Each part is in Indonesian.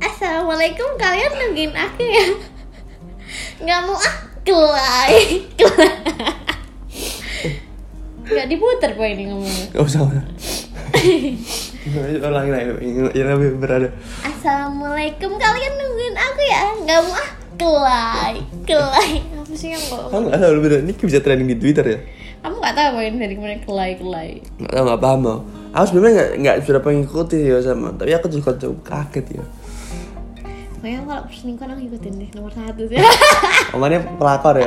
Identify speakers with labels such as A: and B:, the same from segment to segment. A: Assalamualaikum kalian nungguin aku ya nggak mau ah kelai kelai nggak diputar poin ini ngomongnya
B: Gak usah ulang. ulang lagi yang lebih berada.
A: Assalamualaikum kalian nungguin aku ya nggak mau ah kelai kelai apa sih yang kok
B: Kamu nggak tahu lebih berada. Ini bisa trending di Twitter ya?
A: kamu nggak tahu poin dari mana kelai kelai
B: Nggak tahu nggak paham mau. Aku sebenarnya nggak nggak seberapa ngikutin ya sama, tapi aku juga cukup kaget ya.
A: Makanya kalau selingkuh aku ngikutin deh nomor satu sih
B: Omannya pelakor ya.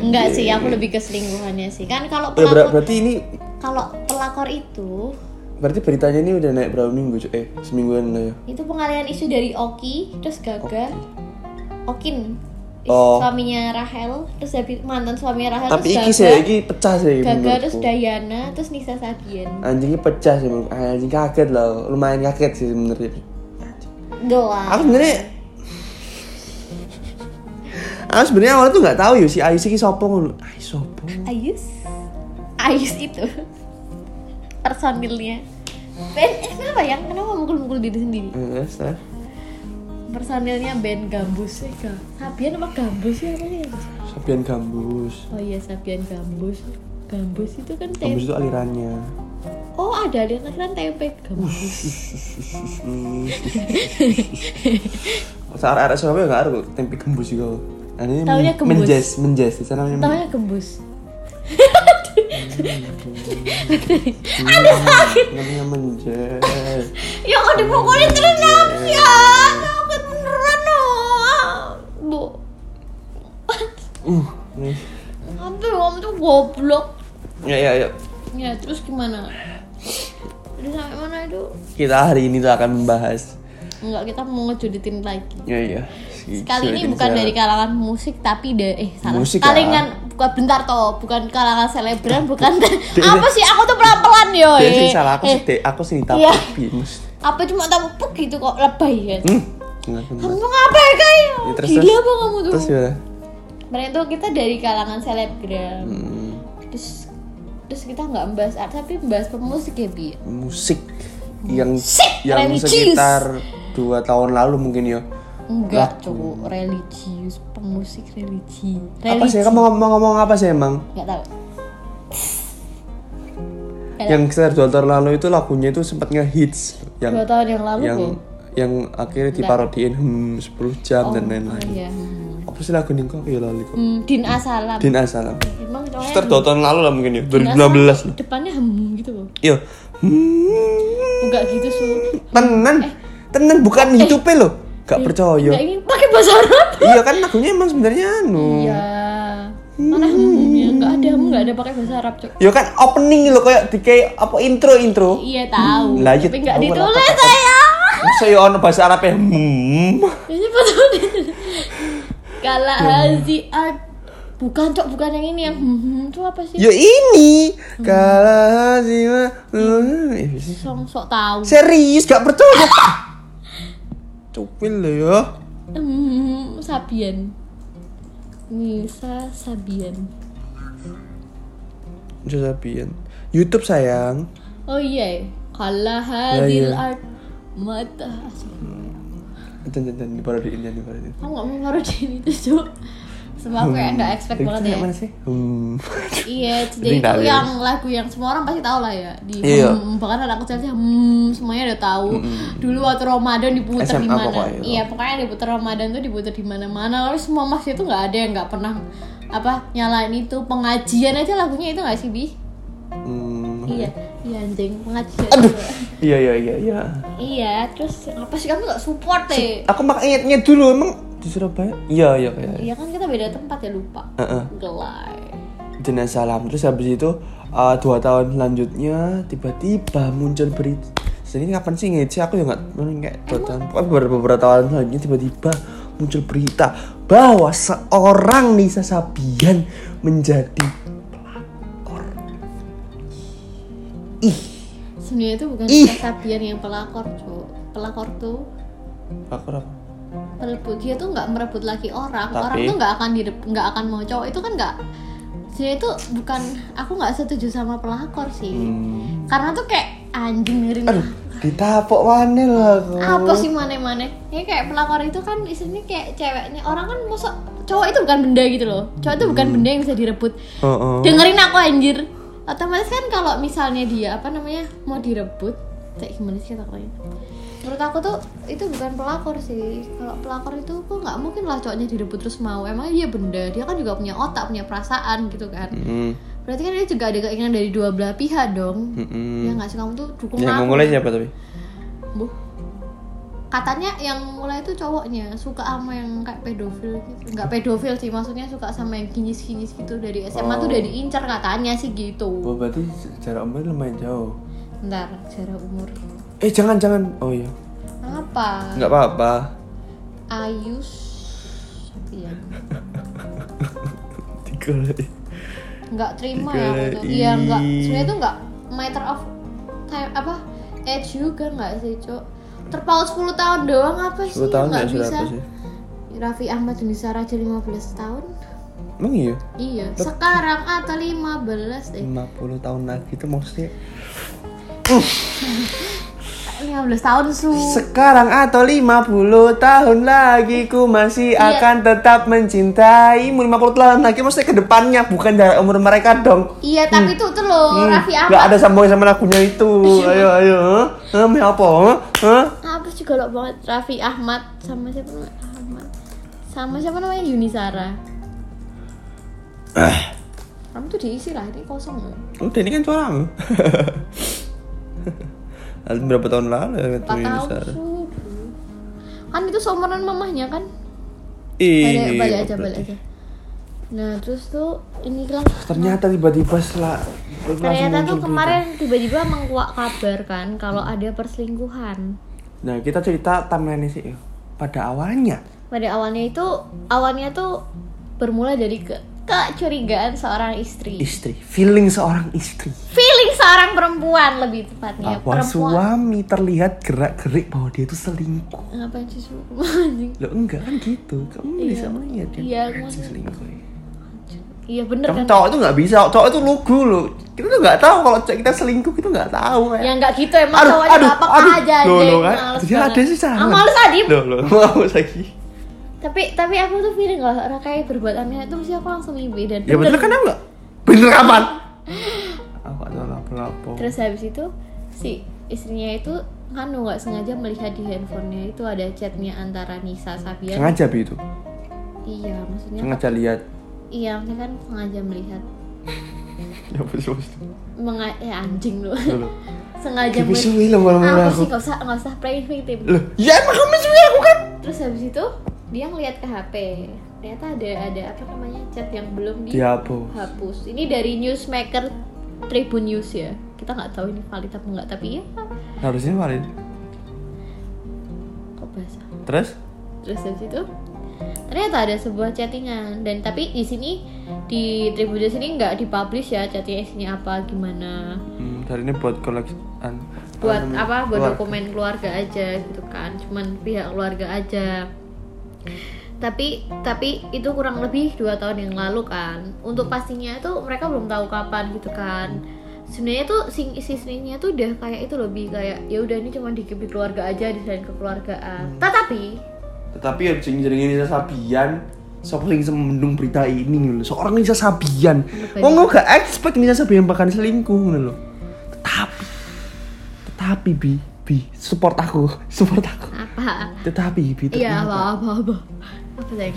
A: Enggak sih, aku lebih ke selingkuhannya sih Kan kalau
B: Udah, ya, ber-
A: pelakor
B: berarti ini
A: Kalau pelakor itu
B: berarti beritanya ini udah naik berapa minggu cuy? Eh semingguan lah ya.
A: Itu pengalihan isu dari Oki, terus Gaga, Okin, is-
B: Oh.
A: suaminya Rahel, terus habis mantan suaminya Rahel,
B: Tapi iki
A: terus
B: sih, iki pecah sih.
A: Gaga,
B: menurutku.
A: terus Dayana, terus Nisa Sabian,
B: Anjingnya pecah sih, menurut- anjing kaget loh, lumayan kaget sih sebenarnya.
A: gelap.
B: Aku sebenarnya Aku sebenarnya awalnya tuh nggak tahu ya si Ais iki sopo ngono. Ais sopo?
A: Ayus, Ayus itu personilnya. Ben, eh, kenapa ya? Kenapa mukul-mukul diri sendiri?
B: Eh, Terus terus.
A: Personilnya Ben Gambus eh, Ga- Sabian apa Gambus sih apa sih?
B: Sabian Gambus.
A: Oh iya Sabian Gambus. Gambus itu kan
B: Gambus
A: tempe.
B: itu alirannya.
A: Oh ada aliran aliran tempe Gambus.
B: Hmm. Saat arek Surabaya nggak ada tempe gembus juga. Nah, ini
A: Taunya gembus.
B: menjes, menjes di sana namanya.
A: Tahunya Gambus.
B: Namanya menjes.
A: Ya kok dipukulin terus naps ya Sakit beneran loh Bu
B: Uh. nih.
A: Tapi om tuh goblok
B: Ya ya ya.
A: Ya terus gimana? Terus sampai mana itu?
B: Kita hari ini tuh akan membahas.
A: Enggak kita mau ngejuditin lagi
B: Ya ya.
A: Kali ini bukan dari kalangan musik tapi da- eh salah.
B: Musik ya?
A: kalangan bukan bentar toh, bukan kalangan selebgram, bukan
B: Dek,
A: apa sih? Aku tuh pelan-pelan yo.
B: Dia sih
A: eh.
B: salah aku sih,
A: Eh,
B: Dek. aku sih tapi
A: Iya.
B: Mas.
A: Apa cuma tahu puk gitu kok lebay ya?
B: Hmm. Enggak bener.
A: Kamu ngapain kayak?
B: Ya, terus,
A: Gila
B: terus.
A: apa kamu tuh?
B: Terus ya. gimana?
A: Mereka tuh kita dari kalangan selebgram.
B: Hmm,
A: Terus terus kita nggak membahas art tapi membahas pemusik ya bi.
B: musik yang
A: Musik
B: yang
A: religius.
B: sekitar dua tahun lalu mungkin ya.
A: Enggak cowok religius pemusik religi. religi.
B: hmm. Apa sih kamu ngomong ngomong apa sih emang?
A: Nggak tahu. Ada.
B: Yang sekitar dua tahun lalu itu lagunya itu sempat ngehits yang
A: Dua tahun yang lalu
B: yang
A: Bu.
B: yang akhirnya diparodiin hmm, 10 jam dan lain-lain.
A: Iya.
B: Apa sih lagu ini kok ya lali kok?
A: Hmm, Din Asalam.
B: Din Asalam.
A: Emang cowoknya
B: Sekitar dua tahun lalu lah mungkin ya,
A: Din Asalam
B: 2016 lah.
A: Depannya hmm gitu loh.
B: Iya. Hmm.
A: Enggak gitu su.
B: Tenan. Tenan bukan hidupnya loh. Gak percaya.
A: Eh. Iya. Enggak ini pakai bahasa Arab.
B: iya kan lagunya emang sebenarnya anu.
A: Iya. Mana hmnya? Enggak ada hmm, enggak ada pakai bahasa Arab, Cok.
B: Ya kan opening lo kayak di kayak apa intro intro.
A: Iya tahu.
B: Hmm, lah, iya
A: Tapi enggak
B: tahu lah,
A: ditulis
B: kata-kata.
A: saya.
B: Masa ya ono bahasa Arab ya? Hmm.
A: Ini betul. Kala
B: Iya.
A: hazi ad- Bukan, Cok, bukan yang ini yang hmm, hmm itu apa sih?
B: Ya ini
A: Hmm.
B: kalah sih mah. Hmm. Eh,
A: Song sok tahu.
B: Serius gak percaya? Cupil lo ya.
A: Hmm, Sabian. Nisa Sabian.
B: Josapian. YouTube sayang.
A: Oh iya. Kala hazil
B: iya.
A: ad mata.
B: Dan dan dan diparodiin dan diparodiin.
A: Kamu nggak mau ngaruhin itu, Cok. Sebab aku kayak nggak expect
B: Tapi
A: banget
B: kita
A: ya.
B: Mana sih? Hmm.
A: Iya,
B: Jadi
A: jadi itu
B: tahu ya.
A: yang lagu yang semua orang pasti tahu lah ya. Di
B: Iya. Hmm.
A: hmm, bahkan anak kecil sih hmm, semuanya udah tahu. Dulu waktu Ramadan diputer
B: SMA
A: di mana.
B: pokoknya itu.
A: Iya, pokoknya diputer Ramadan tuh diputer di mana-mana. Lalu semua masjid tuh nggak ada yang nggak pernah apa nyalain itu pengajian aja lagunya itu nggak sih bi?
B: Hmm.
A: Iya, iya anjing pengajian.
B: Iya iya iya iya.
A: iya, terus apa sih kamu nggak support ya? deh?
B: Aku mak ingatnya dulu emang di Surabaya. Iya iya kayak.
A: Iya kan kita beda tempat ya lupa.
B: Heeh.
A: Gelai.
B: jenazah alam terus habis itu eh, dua tahun selanjutnya tiba-tiba muncul berita ini kapan sih ngeci aku ya nggak ngerti, kayak dua tahun pokoknya beberapa, beberapa tahun selanjutnya tiba-tiba muncul berita bahwa seorang Nisa Sabian menjadi pelakor ih
A: Sebenarnya itu bukan
B: Ih.
A: Nisa Sabian yang pelakor, Cuk. Pelakor tuh
B: pelakor apa
A: merebut dia tuh nggak merebut lagi orang
B: Tapi-
A: orang tuh nggak akan direp- nggak akan mau cowok itu kan nggak sebenarnya itu bukan aku nggak setuju sama pelakor sih
B: hmm.
A: karena tuh kayak anjing ngeri
B: aduh ditapok mana lah aku
A: apa sih mana-mana ya kayak pelakor itu kan isinya kayak ceweknya orang kan masa cowok itu bukan benda gitu loh cowok itu
B: Hmm.
A: bukan benda yang bisa direbut
B: Heeh.
A: dengerin aku anjir otomatis kan kalau misalnya dia apa namanya mau direbut kayak gimana sih takutnya menurut aku tuh itu bukan pelakor sih kalau pelakor itu kok nggak mungkin lah cowoknya direbut terus mau emang dia benda dia kan juga punya otak punya perasaan gitu kan
B: Mm,
A: berarti kan dia juga ada keinginan dari dua belah pihak dong
B: mm, mm.
A: ya nggak sih kamu tuh dukung
B: yang
A: aku
B: memulai siapa tapi
A: Bu. Katanya yang mulai itu cowoknya suka sama yang kayak pedofil gitu. Enggak pedofil sih, maksudnya suka sama yang kinyis-kinyis gitu dari SMA
B: Oh.
A: tuh udah diincar katanya sih gitu.
B: Wah Oh, berarti jarak umur lumayan jauh.
A: Ntar jarak umur.
B: Eh jangan jangan. Oh iya.
A: Apa?
B: Nggak apa-apa.
A: Ayus Iya.
B: Digolek.
A: Nggak
B: Tiga
A: terima ya aku tuh.
B: i.
A: Iya, enggak. Sebenarnya tuh enggak matter of time apa age juga enggak sih, Cuk. Terpaut 10 tahun doang apa
B: 10
A: sih?
B: tahun
A: Nggak
B: nggak sudah apa sih?
A: Raffi Ahmad Yunisa Raja 15 tahun.
B: Emang iya.
A: Iya, sekarang atau 15 eh
B: 50 tahun lagi itu maksudnya
A: 15 tahun su.
B: sekarang atau 50 tahun lagi ku masih
A: Iya.
B: akan tetap mencintaimu 50 tahun lagi maksudnya ke depannya bukan jarak umur mereka dong.
A: Iya, tapi Iya. itu tuh loh
B: Hmm,
A: Raffi
B: nggak
A: Ahmad.
B: ada sambungnya sama lagunya itu. ayo ayo. Hah, Meh apa? Hah?
A: Apa sih golok banget Raffi Ahmad sama siapa namanya? Ahmad. Sama siapa namanya Yuni Sara.
B: Eh,
A: Kamu tuh diisi lah, ini kosong ya. loh.
B: Udah ini kan suaramu. Lalu berapa tahun lalu ya
A: 4
B: ketemunya
A: tahun
B: Sarah?
A: su. Kan itu seumuran mamahnya kan?
B: Ih,
A: Balik, balik aja,
B: berarti.
A: balik aja. Nah, terus tuh ini lah.
B: Ternyata tiba-tiba setelah langsung muncul
A: Ternyata tuh
B: berita.
A: kemarin tiba-tiba menguak kabar kan kalau ada perselingkuhan.
B: Nah kita cerita timeline sih yuk. Pada awalnya
A: pada awalnya itu awalnya tuh bermula dari ke kecurigaan seorang istri
B: istri, feeling seorang istri
A: feeling seorang perempuan lebih tepatnya
B: bahwa suami terlihat gerak-gerik bahwa dia itu selingkuh.
A: ngapain sih Su? Anjing.
B: Loh enggak kan gitu, kamu bisa melihat dia
A: Iya, aku
B: anjing
A: maksud-
B: selingkuh. ya.
A: iya bener
B: Kamu
A: kan
B: cowok itu nggak bisa, cowok itu lugu loh. Kita tuh nggak tahu kalau cowok kita selingkuh kita nggak tahu kayak.
A: ya nggak gitu emang cowoknya apa aja
B: Loh,
A: anjing.
B: loh, kan.
A: Males
B: Jadi
A: banget.
B: ada sih saran.
A: ah, males tadi
B: Loh, loh, mau lagi.
A: tapi tapi aku tuh feeling kalau orang kayak berbuat aneh itu mesti aku langsung mimpi dan
B: Ya bener kan aku nggak? Bener kapan? Aku nggak tahu lapo-lapo.
A: terus habis itu si istrinya itu kan nggak sengaja melihat di handphonenya itu ada chatnya antara Nisa Sabian
B: Sengaja Bi, itu.
A: iya maksudnya
B: Sengaja lihat.
A: Iya, maksudnya kan sengaja melihat
B: Ya bos bos.
A: menga eh, anjing lu.
B: Loh.
A: sengaja
B: Kayak
A: melihat.
B: suwi lo malam
A: Apa
B: aku.
A: sih nggak usah nggak usah playing victim.
B: Loh, ya emang kamu suwi aku kan?
A: Terus habis itu dia ngeliat ke HP. Ternyata ada ada apa namanya chat yang belum
B: Dihapus.
A: dihapus. Ini dari newsmaker Tribun News ya. Kita nggak tahu ini valid apa nggak, tapi ya
B: Harusnya valid.
A: kok basah.
B: Terus?
A: Terus habis itu ternyata ada sebuah chattingan dan tapi di sini di Tribun News ini nggak dipublish ya chattingnya isinya apa gimana
B: Hmm, hari ini buat koleksi an-
A: buat
B: namanya?
A: apa buat
B: Keluar.
A: dokumen keluarga aja gitu kan cuman pihak keluarga aja tapi tapi itu kurang lebih dua tahun yang lalu kan untuk pastinya itu mereka belum tahu kapan gitu kan sebenarnya tuh sing istrinya tuh udah kayak itu lebih kayak ya udah ini cuma dikip di keluarga aja desain
B: Hmm.
A: kekeluargaan tetapi
B: Tetapi ya sing jenenge Nisa Sabian Sopo sing iseng mendung berita ini lho. Seorang Nisa Sabian. Wong gua gak expect Nisa Sabian bahkan selingkuh ngono lho. Tetapi tetapi bi bi support aku, support aku.
A: apa
B: Tetapi bi
A: iya
B: ternyata-
A: apa apa apa apa sayang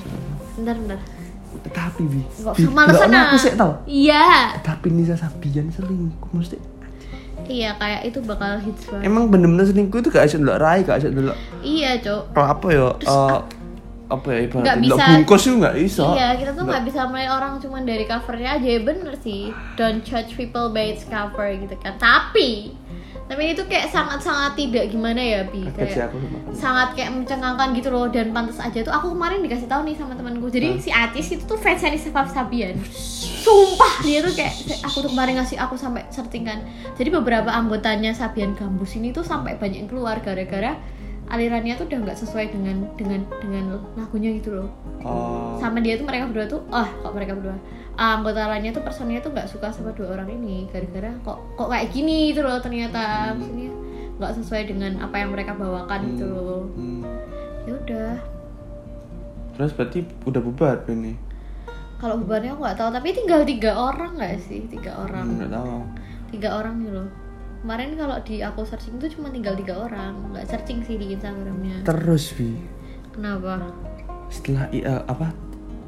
A: bentar bentar
B: tetapi bi.
A: nggak
B: Bi,
A: usah males
B: nggak ono
A: sana
B: Aku sik tau.
A: iya
B: Tetapi Nisa Sabian selingkuh mesti
A: iya kayak itu bakal hits banget
B: emang bener-bener selingkuh itu gak asik ndelok rai, gak asik ndelok
A: iya cok
B: kalau apa ya eh, apa ya
A: Nggak
B: ibaratnya nggak
A: bisa-
B: bungkus juga nggak bisa
A: Iya, kita tuh nggak bisa menilai orang cuman dari covernya aja ya bener sih. Don't judge people by its cover gitu kan. Tapi, tapi itu kayak sangat-sangat tidak gimana ya bi.
B: Kaget sih
A: Kayak
B: aku sama kamu.
A: sangat kayak mencengangkan gitu loh dan pantas aja tuh aku kemarin dikasih tahu nih sama temanku jadi si Atis itu tuh fans dari Sefaf Sabian sumpah dia tuh kayak aku tuh kemarin ngasih aku sampai searching kan jadi beberapa anggotanya Sabian Gambus ini tuh sampai banyak yang keluar gara-gara alirannya tuh udah nggak sesuai dengan dengan dengan lagunya gitu loh
B: Oh,
A: sama dia tuh mereka berdua tuh oh kok mereka berdua Ah, anggota lainnya tuh personnya tuh nggak suka sama dua orang ini gara-gara kok kok kayak gini gitu loh ternyata
B: Hmm.
A: maksudnya nggak sesuai dengan apa yang mereka bawakan gitu loh
B: hmm.
A: ya udah
B: terus berarti udah bubar ini
A: kalau bubarnya aku nggak tahu tapi tinggal tiga orang nggak sih tiga orang
B: nggak tahu
A: tiga orang nih loh kemarin kalau di aku searching tuh cuma tinggal tiga orang nggak searching sih di Instagramnya
B: terus bi
A: kenapa
B: setelah i- eh, apa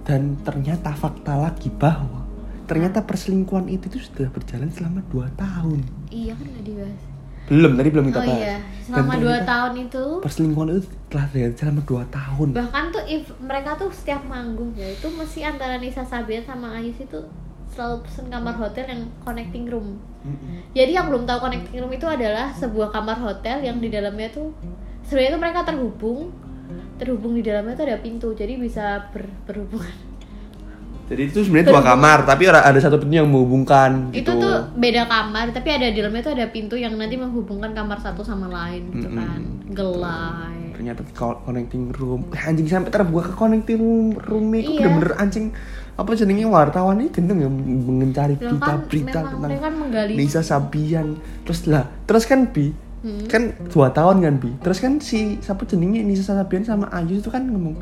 B: dan ternyata fakta lagi bahwa ternyata perselingkuhan itu tuh sudah berjalan selama 2 tahun
A: iya kan nggak dibahas
B: belum tadi belum kita
A: oh
B: bahas
A: iya
B: Dan
A: selama dua
B: ternyata
A: tahun itu
B: perselingkuhan itu telah terjadi selama 2 tahun
A: bahkan tuh if mereka tuh setiap manggung ya itu mesti antara Nisa Sabian sama Ayus itu selalu pesen kamar hotel yang connecting room
B: Mm-mm.
A: jadi yang belum tahu connecting room itu adalah sebuah kamar hotel yang di dalamnya tuh sebenarnya tuh mereka terhubung terhubung di dalamnya tuh ada pintu jadi bisa ber- berhubungan
B: jadi itu sebenarnya dua kamar tapi ora- ada satu pintu yang menghubungkan
A: itu
B: gitu.
A: tuh beda kamar tapi ada di dalamnya tuh ada pintu yang nanti menghubungkan kamar satu sama lain gitu
B: Mm-mm.
A: kan gelai
B: ternyata di co- connecting room Eh, anjing sampai terbuka ke connecting room room itu
A: Iya.
B: bener-bener anjing apa jenenge wartawan ini gendeng ya mencari
A: Lah kan
B: berita-berita
A: memang
B: tentang
A: mereka kan menggali
B: Nisa Sabian terus lah terus kan bi
A: Hmm.
B: kan dua tahun kan bi terus kan si siapa jenenge Nisa Sabian sama Ayu itu kan ngomong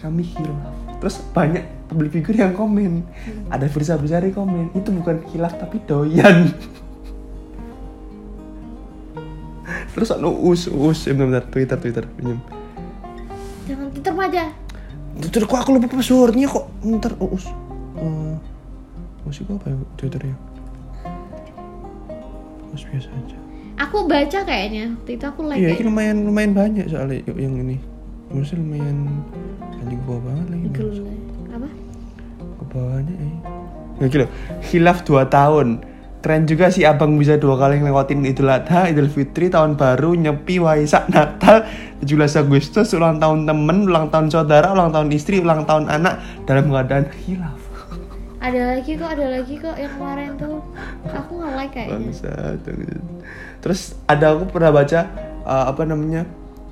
B: kami hilaf terus banyak public figure yang komen
A: Hmm.
B: ada Firsa Besari komen itu bukan hilaf tapi doyan terus anu us us bener Twitter Twitter pinjam
A: jangan kita aja
B: Twitter kok aku lupa passwordnya kok ntar us Eh, us itu apa ya Twitternya us biasa aja
A: aku baca kayaknya waktu itu aku like
B: Iya,
A: kayak-
B: ini lumayan lumayan banyak soalnya yuk, yang ini. Maksudnya lumayan anjing ke bawah banget lagi. Mas.
A: Gelai. apa
B: Ke bawahnya eh. Ya gitu loh. Hilaf 2 tahun. Keren juga sih abang bisa dua kali ngelewatin Idul Adha, Idul Fitri, Tahun Baru, Nyepi, Waisak, Natal, 17 Agustus, ulang tahun temen, ulang tahun saudara, ulang tahun istri, ulang tahun anak dalam keadaan hilaf.
A: ada lagi kok ada lagi kok yang kemarin tuh aku nggak like kayaknya
B: Bangsat, bangsat. Terus ada aku pernah baca uh, apa namanya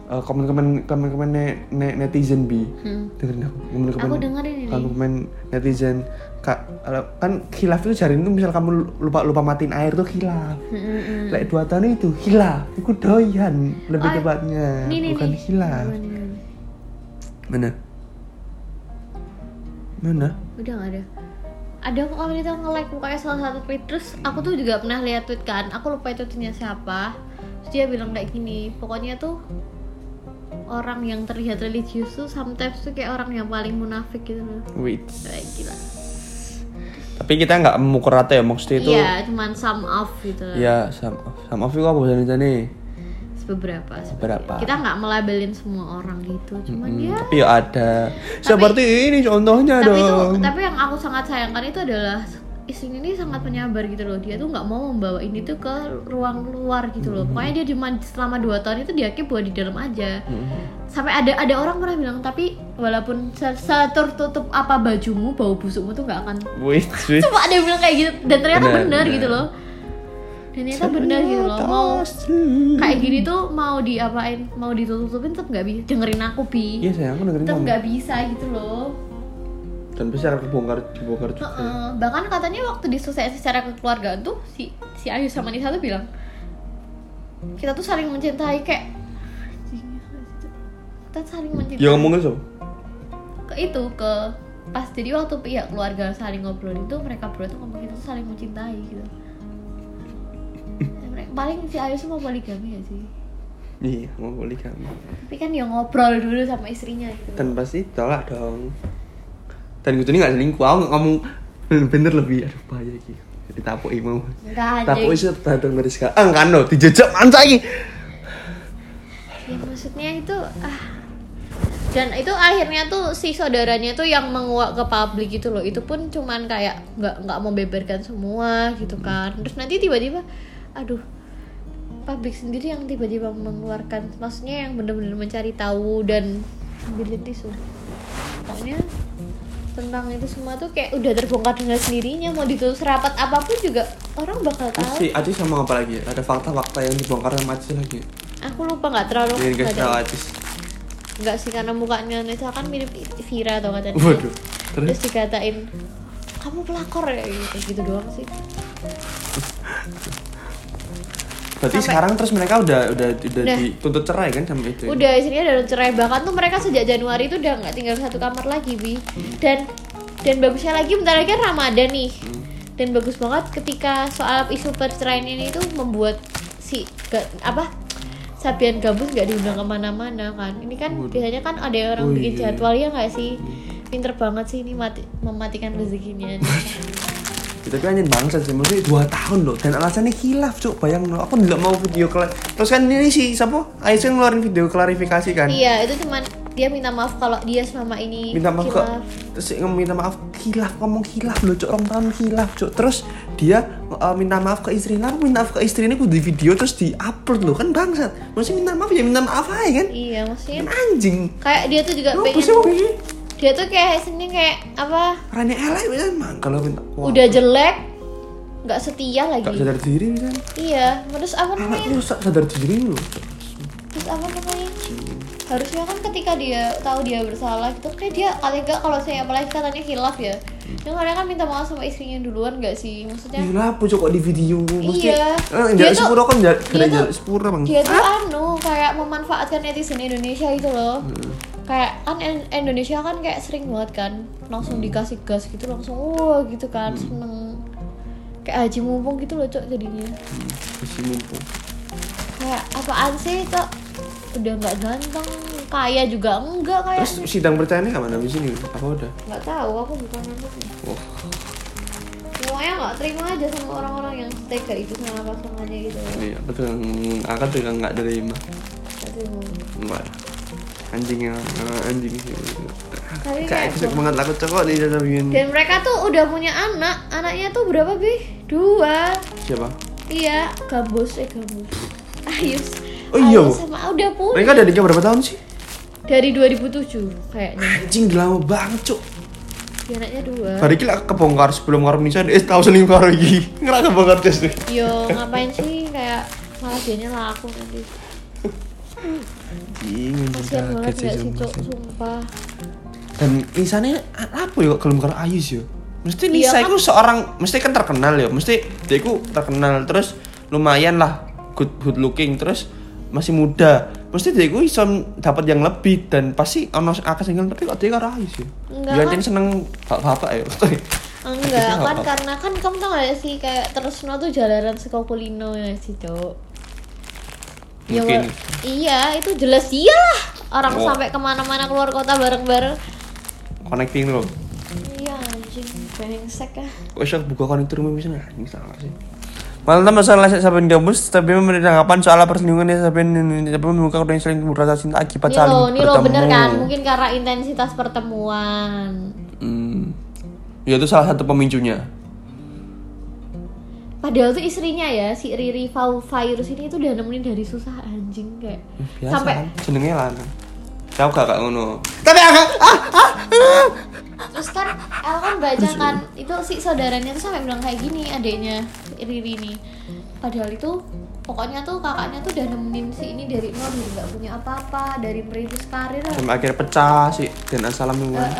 B: uh, komen-komen komen-komen ne- ne- netizen bi.
A: Hmm.
B: Dengerin aku komen-komen.
A: Aku dengerin ini.
B: Komen-komen netizen kak eh, kan khilaf itu jari itu misal kamu lupa lupa matiin air tuh khilaf.
A: Mm-mm.
B: Lek dua tahun itu hilaf, itu doyan lebih
A: Hmm. Oh,
B: tepatnya,
A: Nih, nih,
B: bukan
A: nih.
B: hilaf.
A: Bukan, bukan.
B: Mana? Mana?
A: udah nggak ada ada kok kemarin itu nge-like pokoknya salah satu tweet terus aku tuh juga pernah lihat tweet kan aku lupa itu tweetnya siapa terus dia bilang kayak gini pokoknya tuh orang yang terlihat religius tuh sometimes tuh kayak orang yang paling munafik gitu loh
B: Wait.
A: kayak gila
B: Tapi kita nggak mengukur rata ya maksudnya itu.
A: iya cuman sum up gitu loh.
B: Ya, sama sama Vigo apa bahasa Indonesia nih?
A: beberapa seperti-
B: Beberapa.
A: kita nggak melabelin semua orang gitu cuman
B: Hmm,
A: ya
B: Tapi ya ada. Seperti ini contohnya
A: tapi itu
B: dong.
A: tapi yang aku sangat sayangkan itu adalah istrinya ini sangat penyabar gitu loh dia tuh nggak mau membawa ini tuh ke ruang luar gitu loh pokoknya dia cuma selama dua tahun itu dia kayak buat di dalam aja sampai ada ada orang pernah bilang tapi walaupun se- setertutup apa bajumu bau busukmu tuh nggak akan
B: Wih, wih.
A: cuma ada yang bilang kayak gitu dan ternyata
B: Bener,
A: benar
B: bener.
A: gitu loh dan ternyata benar gitu loh mau kayak gini tuh mau diapain mau ditutup-tutupin tetap nggak bisa dengerin aku bi
B: Iya sayang, aku dengerin
A: tetap
B: kamu.
A: nggak bisa gitu loh
B: Dan pasti akan kebongkar, dibongkar juga.
A: Heeh. bahkan katanya waktu diselesaikan secara kekeluargaan tuh si si Ayu sama Nisa tuh bilang kita tuh saling mencintai kayak kita saling mencintai
B: Ya ngomongin so.
A: ke itu ke pas jadi waktu pihak keluarga saling ngobrol itu mereka berdua tuh ngomong kita tuh saling mencintai gitu Mereka- paling si Ayu semua poligami ya sih
B: Iya, mau boleh kamu.
A: tapi kan ya ngobrol dulu sama istrinya gitu
B: Dan pasti tolak dong. Dan gitu ini nggak selingkuh, aku nggak ngomong bener lebih aduh bahaya gitu. Jadi tapuk mau.
A: enggak aja
B: Tapuk itu datang dari sekarang kan lo dijejak mansa iki.
A: ya maksudnya itu ah dan itu akhirnya tuh si saudaranya tuh yang menguak ke publik gitu loh itu pun cuman kayak nggak nggak membeberkan semua gitu kan terus nanti tiba-tiba aduh publik sendiri yang tiba-tiba mengeluarkan maksudnya yang bener-bener mencari tahu dan ambil tisu pokoknya tentang itu semua tuh kayak udah terbongkar dengan sendirinya mau ditulis rapat apapun juga orang bakal
B: Terus
A: tahu
B: si Acis sama apa lagi? Ada fakta-fakta yang dibongkar sama Acis lagi?
A: aku lupa nggak terlalu
B: Yang dikasih tau
A: nggak
B: Acis
A: nggak sih karena mukanya Neta kan mirip Vira atau katanya
B: Waduh Terus
A: terus dikatain kamu pelakor ya gitu, gitu doang sih
B: berarti
A: sampai-
B: sekarang terus mereka udah udah udah
A: Udah.
B: dituntut cerai kan sama itu?
A: udah istrinya udah cerai bahkan tuh mereka sejak Januari tuh udah nggak tinggal satu kamar lagi bi dan dan bagusnya lagi bentar lagi kan Ramadan nih
B: Hmm.
A: dan bagus banget ketika soal isu perceraian ini tuh membuat si ga- apa Sabian gabus nggak diundang kemana-mana kan ini kan
B: Waduh.
A: biasanya kan ada yang
B: Oh,
A: orang bikin
B: iya.
A: jadwal ya nggak sih pinter banget sih ini mati, mematikan rezekinya
B: Ya, tapi anjir bangsa sih, maksudnya 2 tahun loh Dan alasannya hilaf cuk, bayang loh Aku nggak mau video kelar Terus kan ini si, siapa? Aisyah ngeluarin video klarifikasi kan
A: iya itu cuman dia minta maaf kalau dia selama ini
B: minta maaf ke
A: hilaf.
B: terus dia ngomong minta maaf hilaf ngomong hilaf loh cok orang tahun hilaf cok terus dia uh, minta maaf ke istrinya aku minta maaf ke istrinya aku di video terus di upload loh kan bangsat masih minta maaf ya minta maaf aja kan
A: iya maksudnya
B: kan anjing
A: kayak dia tuh juga
B: apa
A: pengen
B: sih wong ini
A: dia tuh kayak sini kayak apa
B: rani elek kan mang kalau minta wah,
A: udah jelek nggak setia lagi
B: gak sadar diri kan
A: iya terus apa
B: anak
A: namanya
B: rusak sadar diri loh Cok.
A: terus apa namanya harusnya kan ketika dia tahu dia bersalah gitu kayak dia kalau enggak kalau saya apalagi katanya hilaf ya yang kadang kan minta maaf sama istrinya duluan nggak sih maksudnya
B: Iya lah, apa cok kok di video
A: Ya. Iya. Dia
B: Dia
A: tuh-
B: sepura kan jalan
A: dia tuh-
B: jalan sepura bang.
A: dia tuh anu kayak memanfaatkan netizen Indonesia itu loh kayak kan En- Indonesia kan kayak sering banget kan langsung dikasih gas gitu langsung wah gitu kan seneng kayak haji mumpung gitu loh cok jadinya
B: Masih mumpung.
A: kayak apaan sih cok udah nggak ganteng kaya juga enggak kayak
B: Terus sidang percayanya kapan habis ini? Apa udah?
A: nggak tahu aku bukan anaknya
B: Wah.
A: semuanya nggak terima aja sama orang-orang yang tega itu sama pasangannya gitu
B: Iya, betul. Aku juga nggak terima.
A: Nggak terima.
B: Enggak. Anjing yang eh, anjing sih. Kayak
A: tapi kayak
B: kesek banget aku cokok nih jadi bikin
A: dan mereka tuh udah punya anak anaknya tuh berapa bi dua
B: siapa?
A: Iya, gambus eh gambus. Ayus.
B: Oh iya,
A: Ayus
B: Bu.
A: sama ah, udah pun
B: Mereka ada nikah berapa tahun sih?
A: dari 2007 kayaknya.
B: Anjing udah lama banget cok.
A: Dia Anaknya dua.
B: Hari ini aku kebongkar sebelum karo misah eh tahu selingkuh karo iki. Ngerasa kebongkar terus. deh.
A: Yo ngapain sih kayak malah dianya laku nanti.
B: Anjing. kaget
A: Kasihan banget
B: sih,
A: gak sih
B: sumpah.
A: cok, sumpah.
B: Dan Nisanya apa ya kok gelem karo Ayus ya? Mesti
A: Iya,
B: Nisa
A: kan?
B: itu seorang mesti kan terkenal ya, mesti dia itu terkenal terus lumayan lah good good looking terus masih muda. Mesti dia itu bisa dapat yang lebih dan pasti ono akeh sing ngerti kok dia karo Ayus ya.
A: Enggak,
B: Biar
A: kan?
B: dia seneng bapak-bapak ya.
A: Enggak
B: Nggak
A: kan
B: apa-apa.
A: karena kan kamu tau gak sih kayak terus tuh jalanan seko kulino ya sih cok. Ya,
B: Mungkin.
A: wa- iya itu jelas iyalah orang
B: Oh.
A: sampai kemana-mana keluar kota bareng-bareng.
B: Connecting loh.
A: Iya anjing, brengsek ah.
B: Kok bisa buka konektor rumah bisa nggak? Ini salah sih. Malah masalah saya sampai gabus, tapi memberi tanggapan soal perselingkuhan ya sampai tapi membuka orang yang sering merasa cinta akibat
A: Nih lo,
B: saling
A: nih lo
B: bertemu.
A: bener kan? Mungkin karena intensitas pertemuan.
B: Hmm. Ya itu salah satu pemicunya.
A: Padahal tuh istrinya ya, si Riri Fau- virus ini tuh udah nemenin dari susah anjing kayak.
B: Biasa
A: Sampai
B: kan, jenenge lanang. Tahu gak kak ngono? Tapi agak ah ah.
A: terus kan El kan baca kan itu si saudaranya tuh sampai bilang kayak gini adiknya si Riri ini. Padahal itu pokoknya tuh kakaknya tuh udah nemenin si ini dari nol dari nggak punya apa-apa, dari merintis karir. lah.
B: Sampai akhirnya pecah sih dan salam
A: Eh,
B: kan.
A: eh,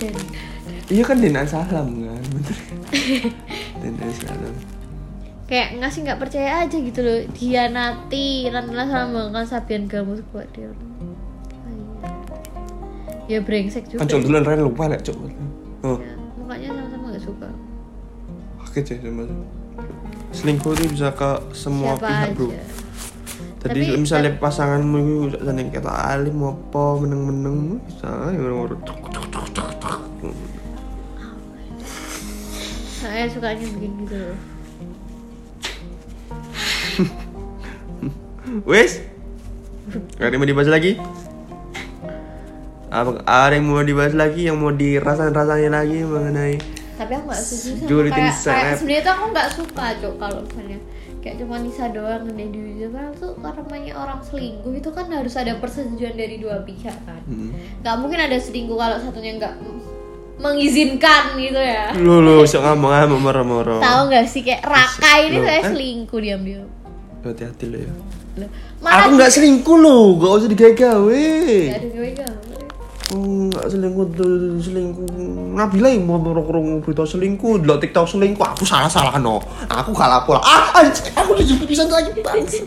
A: dan
B: Iya kan dan salam kan, bener. dan salam.
A: kayak ngasih nggak percaya aja gitu loh dia nanti Rantala sama kan Sabian kamu buat dia Iya. ya brengsek juga
B: Kan cok
A: sih.
B: duluan Ren lupa lah cok. Oh,
A: Ya, mukanya sama-sama nggak suka
B: oke cek sama. ya, Selingkuh itu bisa ke semua
A: siapa
B: pihak
A: aja
B: bro. Tadi
A: Tapi-
B: misalnya pasanganmu itu seneng kata alim apa meneng-meneng bisa ya orang-orang cok, cok, cok, cok, cok.
A: saya sukanya begini gitu loh
B: Wes. Gak ada yang mau dibahas lagi? apa ada yang mau dibahas lagi yang mau dirasain-rasain lagi mengenai
A: tapi aku nggak setuju sama
B: Julitin
A: kayak, kayak
B: seleb.
A: sebenarnya tuh aku nggak suka cok kalau misalnya kayak cuma Nisa doang yang di Instagram tuh kan namanya orang selingkuh itu kan harus ada persetujuan dari dua pihak kan
B: Hmm.
A: nggak mungkin ada selingkuh kalau satunya nggak mengizinkan gitu ya
B: lu lu sok ngomong ngomong moro-moro
A: tahu nggak sih kayak Raka ini
B: Loh,
A: saya
B: eh?
A: selingkuh diam-diam
B: hati-hati lo ya
A: Loh,
B: aku
A: malah
B: nggak selingkuh lo gak usah digawe
A: Nggak ada gue nggak boleh.
B: Oh, nggak selingkuh tuh, selingkuh Nabila yang mau merong berita selingkuh delok tiktok selingkuh aku salah salah no aku gak laku lah ah anjir, aku dijemput bisa lagi bangsa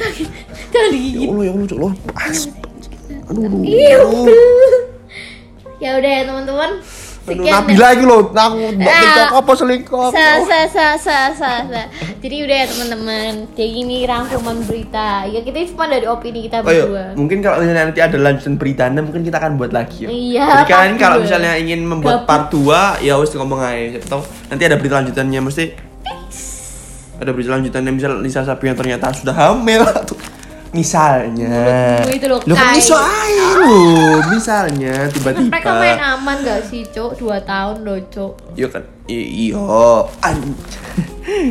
A: sakit jangan digigit
B: ya allah ya allah cok lo aduh aduh
A: Iu,
B: aduh.
A: bel. ya udah ya teman-teman
B: Aduh,
A: sekian
B: Nabila iki lho, aku mbok
A: Ah.
B: TikTok apa selingkuh.
A: sa sa sa sa sa sa jadi udah ya teman-teman kayak gini rangkuman berita ya kita cuma dari opini kita
B: Oh, yuk.
A: berdua
B: mungkin kalau misalnya nanti ada lanjutan berita Anda, mungkin kita akan buat lagi. yuk.
A: Iya,
B: Jadi kan
A: part
B: kalau
A: dua.
B: misalnya ingin membuat
A: Gabut.
B: part 2, ya wis ngomong aja. Siapa tahu nanti ada berita lanjutannya mesti ada berita lanjutannya misal Lisa Sapian ternyata sudah hamil Tuh. misalnya
A: Menurut gue itu loh,
B: Loh, kan
A: Kai.
B: iso ae lho. misalnya
A: mereka main
B: tiba-tiba
A: aman gak sih cok dua tahun loh cok
B: Iya kan? I- Iya.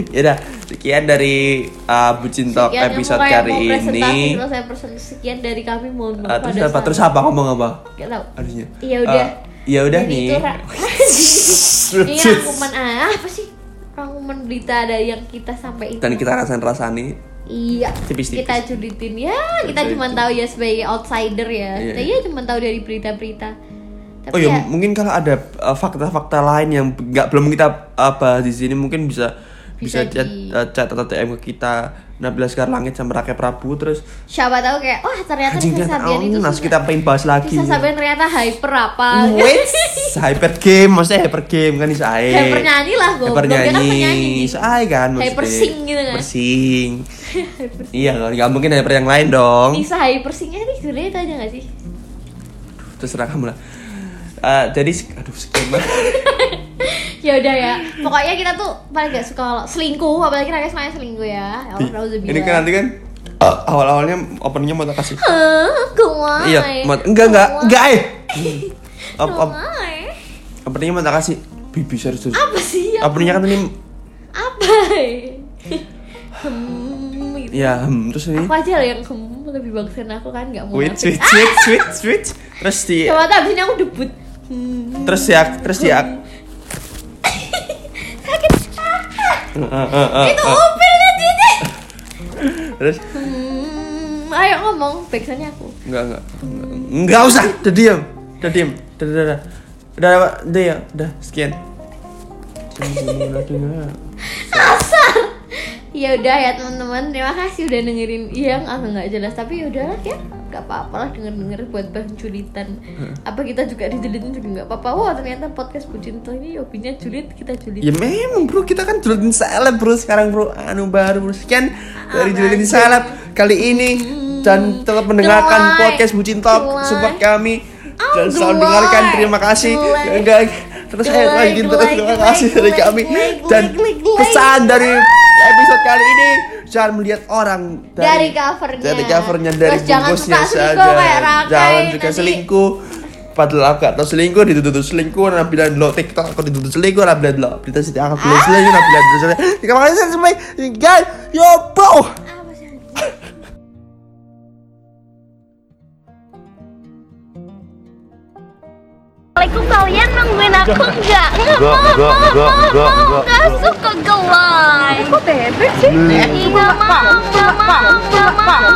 B: Ya udah, sekian dari uh, Bucin Talk
A: Sekian yang
B: episode
A: mau- yang
B: kali
A: mau presentasi,
B: ini.
A: terus saya presentasi sekian dari kami mohon
B: Uh,
A: maaf
B: terus
A: pada
B: apa?
A: saat-
B: Terus apa? Ngomong apa?
A: Gak tau
B: Harusnya.
A: Iya udah.
B: Uh, ya udah
A: Jadi
B: nih.
A: itu ra- ini rangkuman ah, apa sih rangkuman berita dari yang kita sampaikan
B: Dan kita rasain-rasani.
A: Iya,
B: Tipis-tipis.
A: kita juditin ya. Kita
B: Juditin.
A: cuma tahu ya sebagai outsider ya.
B: Iya,
A: Kita
B: iya.
A: ya cuma tahu dari berita-berita. Tapi
B: Oh iya,
A: ya,
B: mungkin kalau ada uh, fakta-fakta lain yang nggak belum kita uh, bahas di sini mungkin bisa bisa,
A: Bisa
B: chat,
A: di-
B: uh, chat atau TM ke kita Nabila Langit sama Rake Prabu terus
A: siapa tahu kayak wah ternyata
B: anjing
A: Nisa
B: kan
A: Sabian itu
B: nas
A: suka-
B: kita pengen bahas lagi.
A: Nisa Sabian ternyata hyper apa?
B: Wits, Hmm, hyper game, maksudnya hyper game kan bisa ae.
A: hyper nyanyi lah gue.
B: Hyper
A: Dia kan penyanyi.
B: nyanyi, bisa ae kan maksudnya.
A: Hyper sing gitu kan.
B: Hyper sing. iya kan, nggak mungkin hyper yang lain dong.
A: Nisa hyper singnya nih sebenarnya itu aja gak sih?
B: Terserah kamu lah. Eh, jadi, sek- aduh sekian banget.
A: Ya udah ya. Pokoknya kita tuh paling gak suka kalau selingkuh, apalagi Raka semuanya selingkuh ya. Ya Allah, nauzubillah.
B: Ini kan nanti kan eh, awal-awalnya openingnya mau tak kasih.
A: Hah, kuai.
B: Iya, mau- enggak enggak enggak eh. Op, op,
A: Kuai.
B: openingnya mau tak kasih. Bibi serius serius.
A: Apa sih ya?
B: Openingnya kan ini,
A: apa hmm, gitu.
B: ya hmm, terus ini.
A: aku aja lah yang hmm lebih bagusnya aku kan nggak mau
B: Wait,
A: nafik.
B: switch, switch, switch, switch. Terus di,
A: coba tuh abis ini aku debut hmm,
B: terus ya, terus ya.
A: sakit Ah,
B: Eh, eh, eh, eh,
A: itu
B: eh.
A: upilnya jadi
B: Terus
A: hmm, ayo ngomong backsoundnya aku
B: enggak enggak enggak, enggak usah, udah diam, udah diam, udah udah udah udah udah, udah ya, udah sekian.
A: kasar ya udah ya teman-teman terima kasih udah dengerin yang agak nggak jelas tapi ya udahlah ya nggak apa-apa lah denger-denger buat bahan julitan apa kita juga dijelitin juga nggak apa-apa wah ternyata podcast bucin tuh ini hobinya julit kita julit
B: ya memang bro kita kan julitin seleb bro sekarang bro anu baru bro sekian dari
A: Apa
B: julitin
A: aja?
B: seleb kali ini dan tetap mendengarkan
A: Hmm. Gelai.
B: podcast bucin talk
A: Gelai.
B: support kami
A: Oh,
B: dan selalu
A: gelai.
B: dengarkan terima kasih
A: Gelai.
B: enggak terus saya
A: Gelai,
B: lagi terus
A: gelai,
B: terima
A: gelai,
B: kasih dari
A: gelai,
B: kami
A: gelai,
B: dan
A: gelai, gelai.
B: pesan dari episode kali ini jangan melihat orang
A: dari, covernya
B: dari covernya dari
A: Terus jangan
B: bungkusnya
A: suka
B: saja
A: selingkuh kayak Rakai
B: jangan juga
A: nanti.
B: selingkuh padahal aku gak tau selingkuh dituduh selingkuh nabi dan lo tiktok aku dituduh selingkuh nabi dan lo berita sih
A: Ah.
B: aku dituduh selingkuh nabi dan lo selingkuh terima kasih sampai guys yo bro
A: Apa sih?
C: Assalamualaikum kalian nungguin aku enggak?
D: Enggak, enggak, enggak, enggak, enggak.
C: Enggak suka gelai. Kok bebek sih? Enggak mau, enggak mau, enggak mau.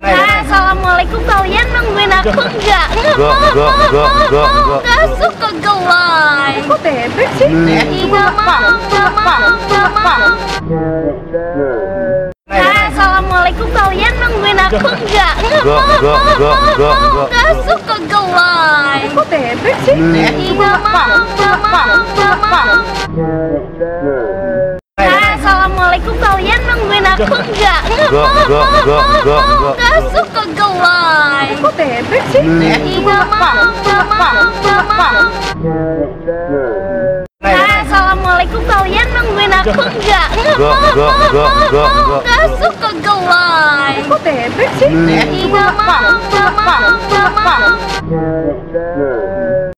C: Nah, Assalamualaikum kalian nungguin aku enggak?
D: Enggak, enggak, enggak, enggak, enggak.
C: Enggak suka gelai. Kok bebek sih? Enggak mau, enggak mau, enggak mau. Nah, Assalamualaikum kalian nungguin aku enggak?
D: Enggak, enggak, enggak, enggak, enggak.
C: Enggak suka gelai. Kok bebek sih? Enggak mau, enggak mau, enggak mau. Nah, Assalamualaikum kalian nungguin aku enggak?
D: Enggak, enggak, enggak, enggak, enggak.
C: Enggak suka gelai. Kok bebek sih? Enggak mau, enggak mau, enggak mau. Nah, Assalamualaikum kalian nungguin Temenin aku enggak.
D: ya. Enggak, enggak, enggak, enggak, enggak.
C: Enggak suka gelai.
E: Kok bebek sih?
C: Iya, Enggak mau, enggak mau, enggak mau.
D: enggak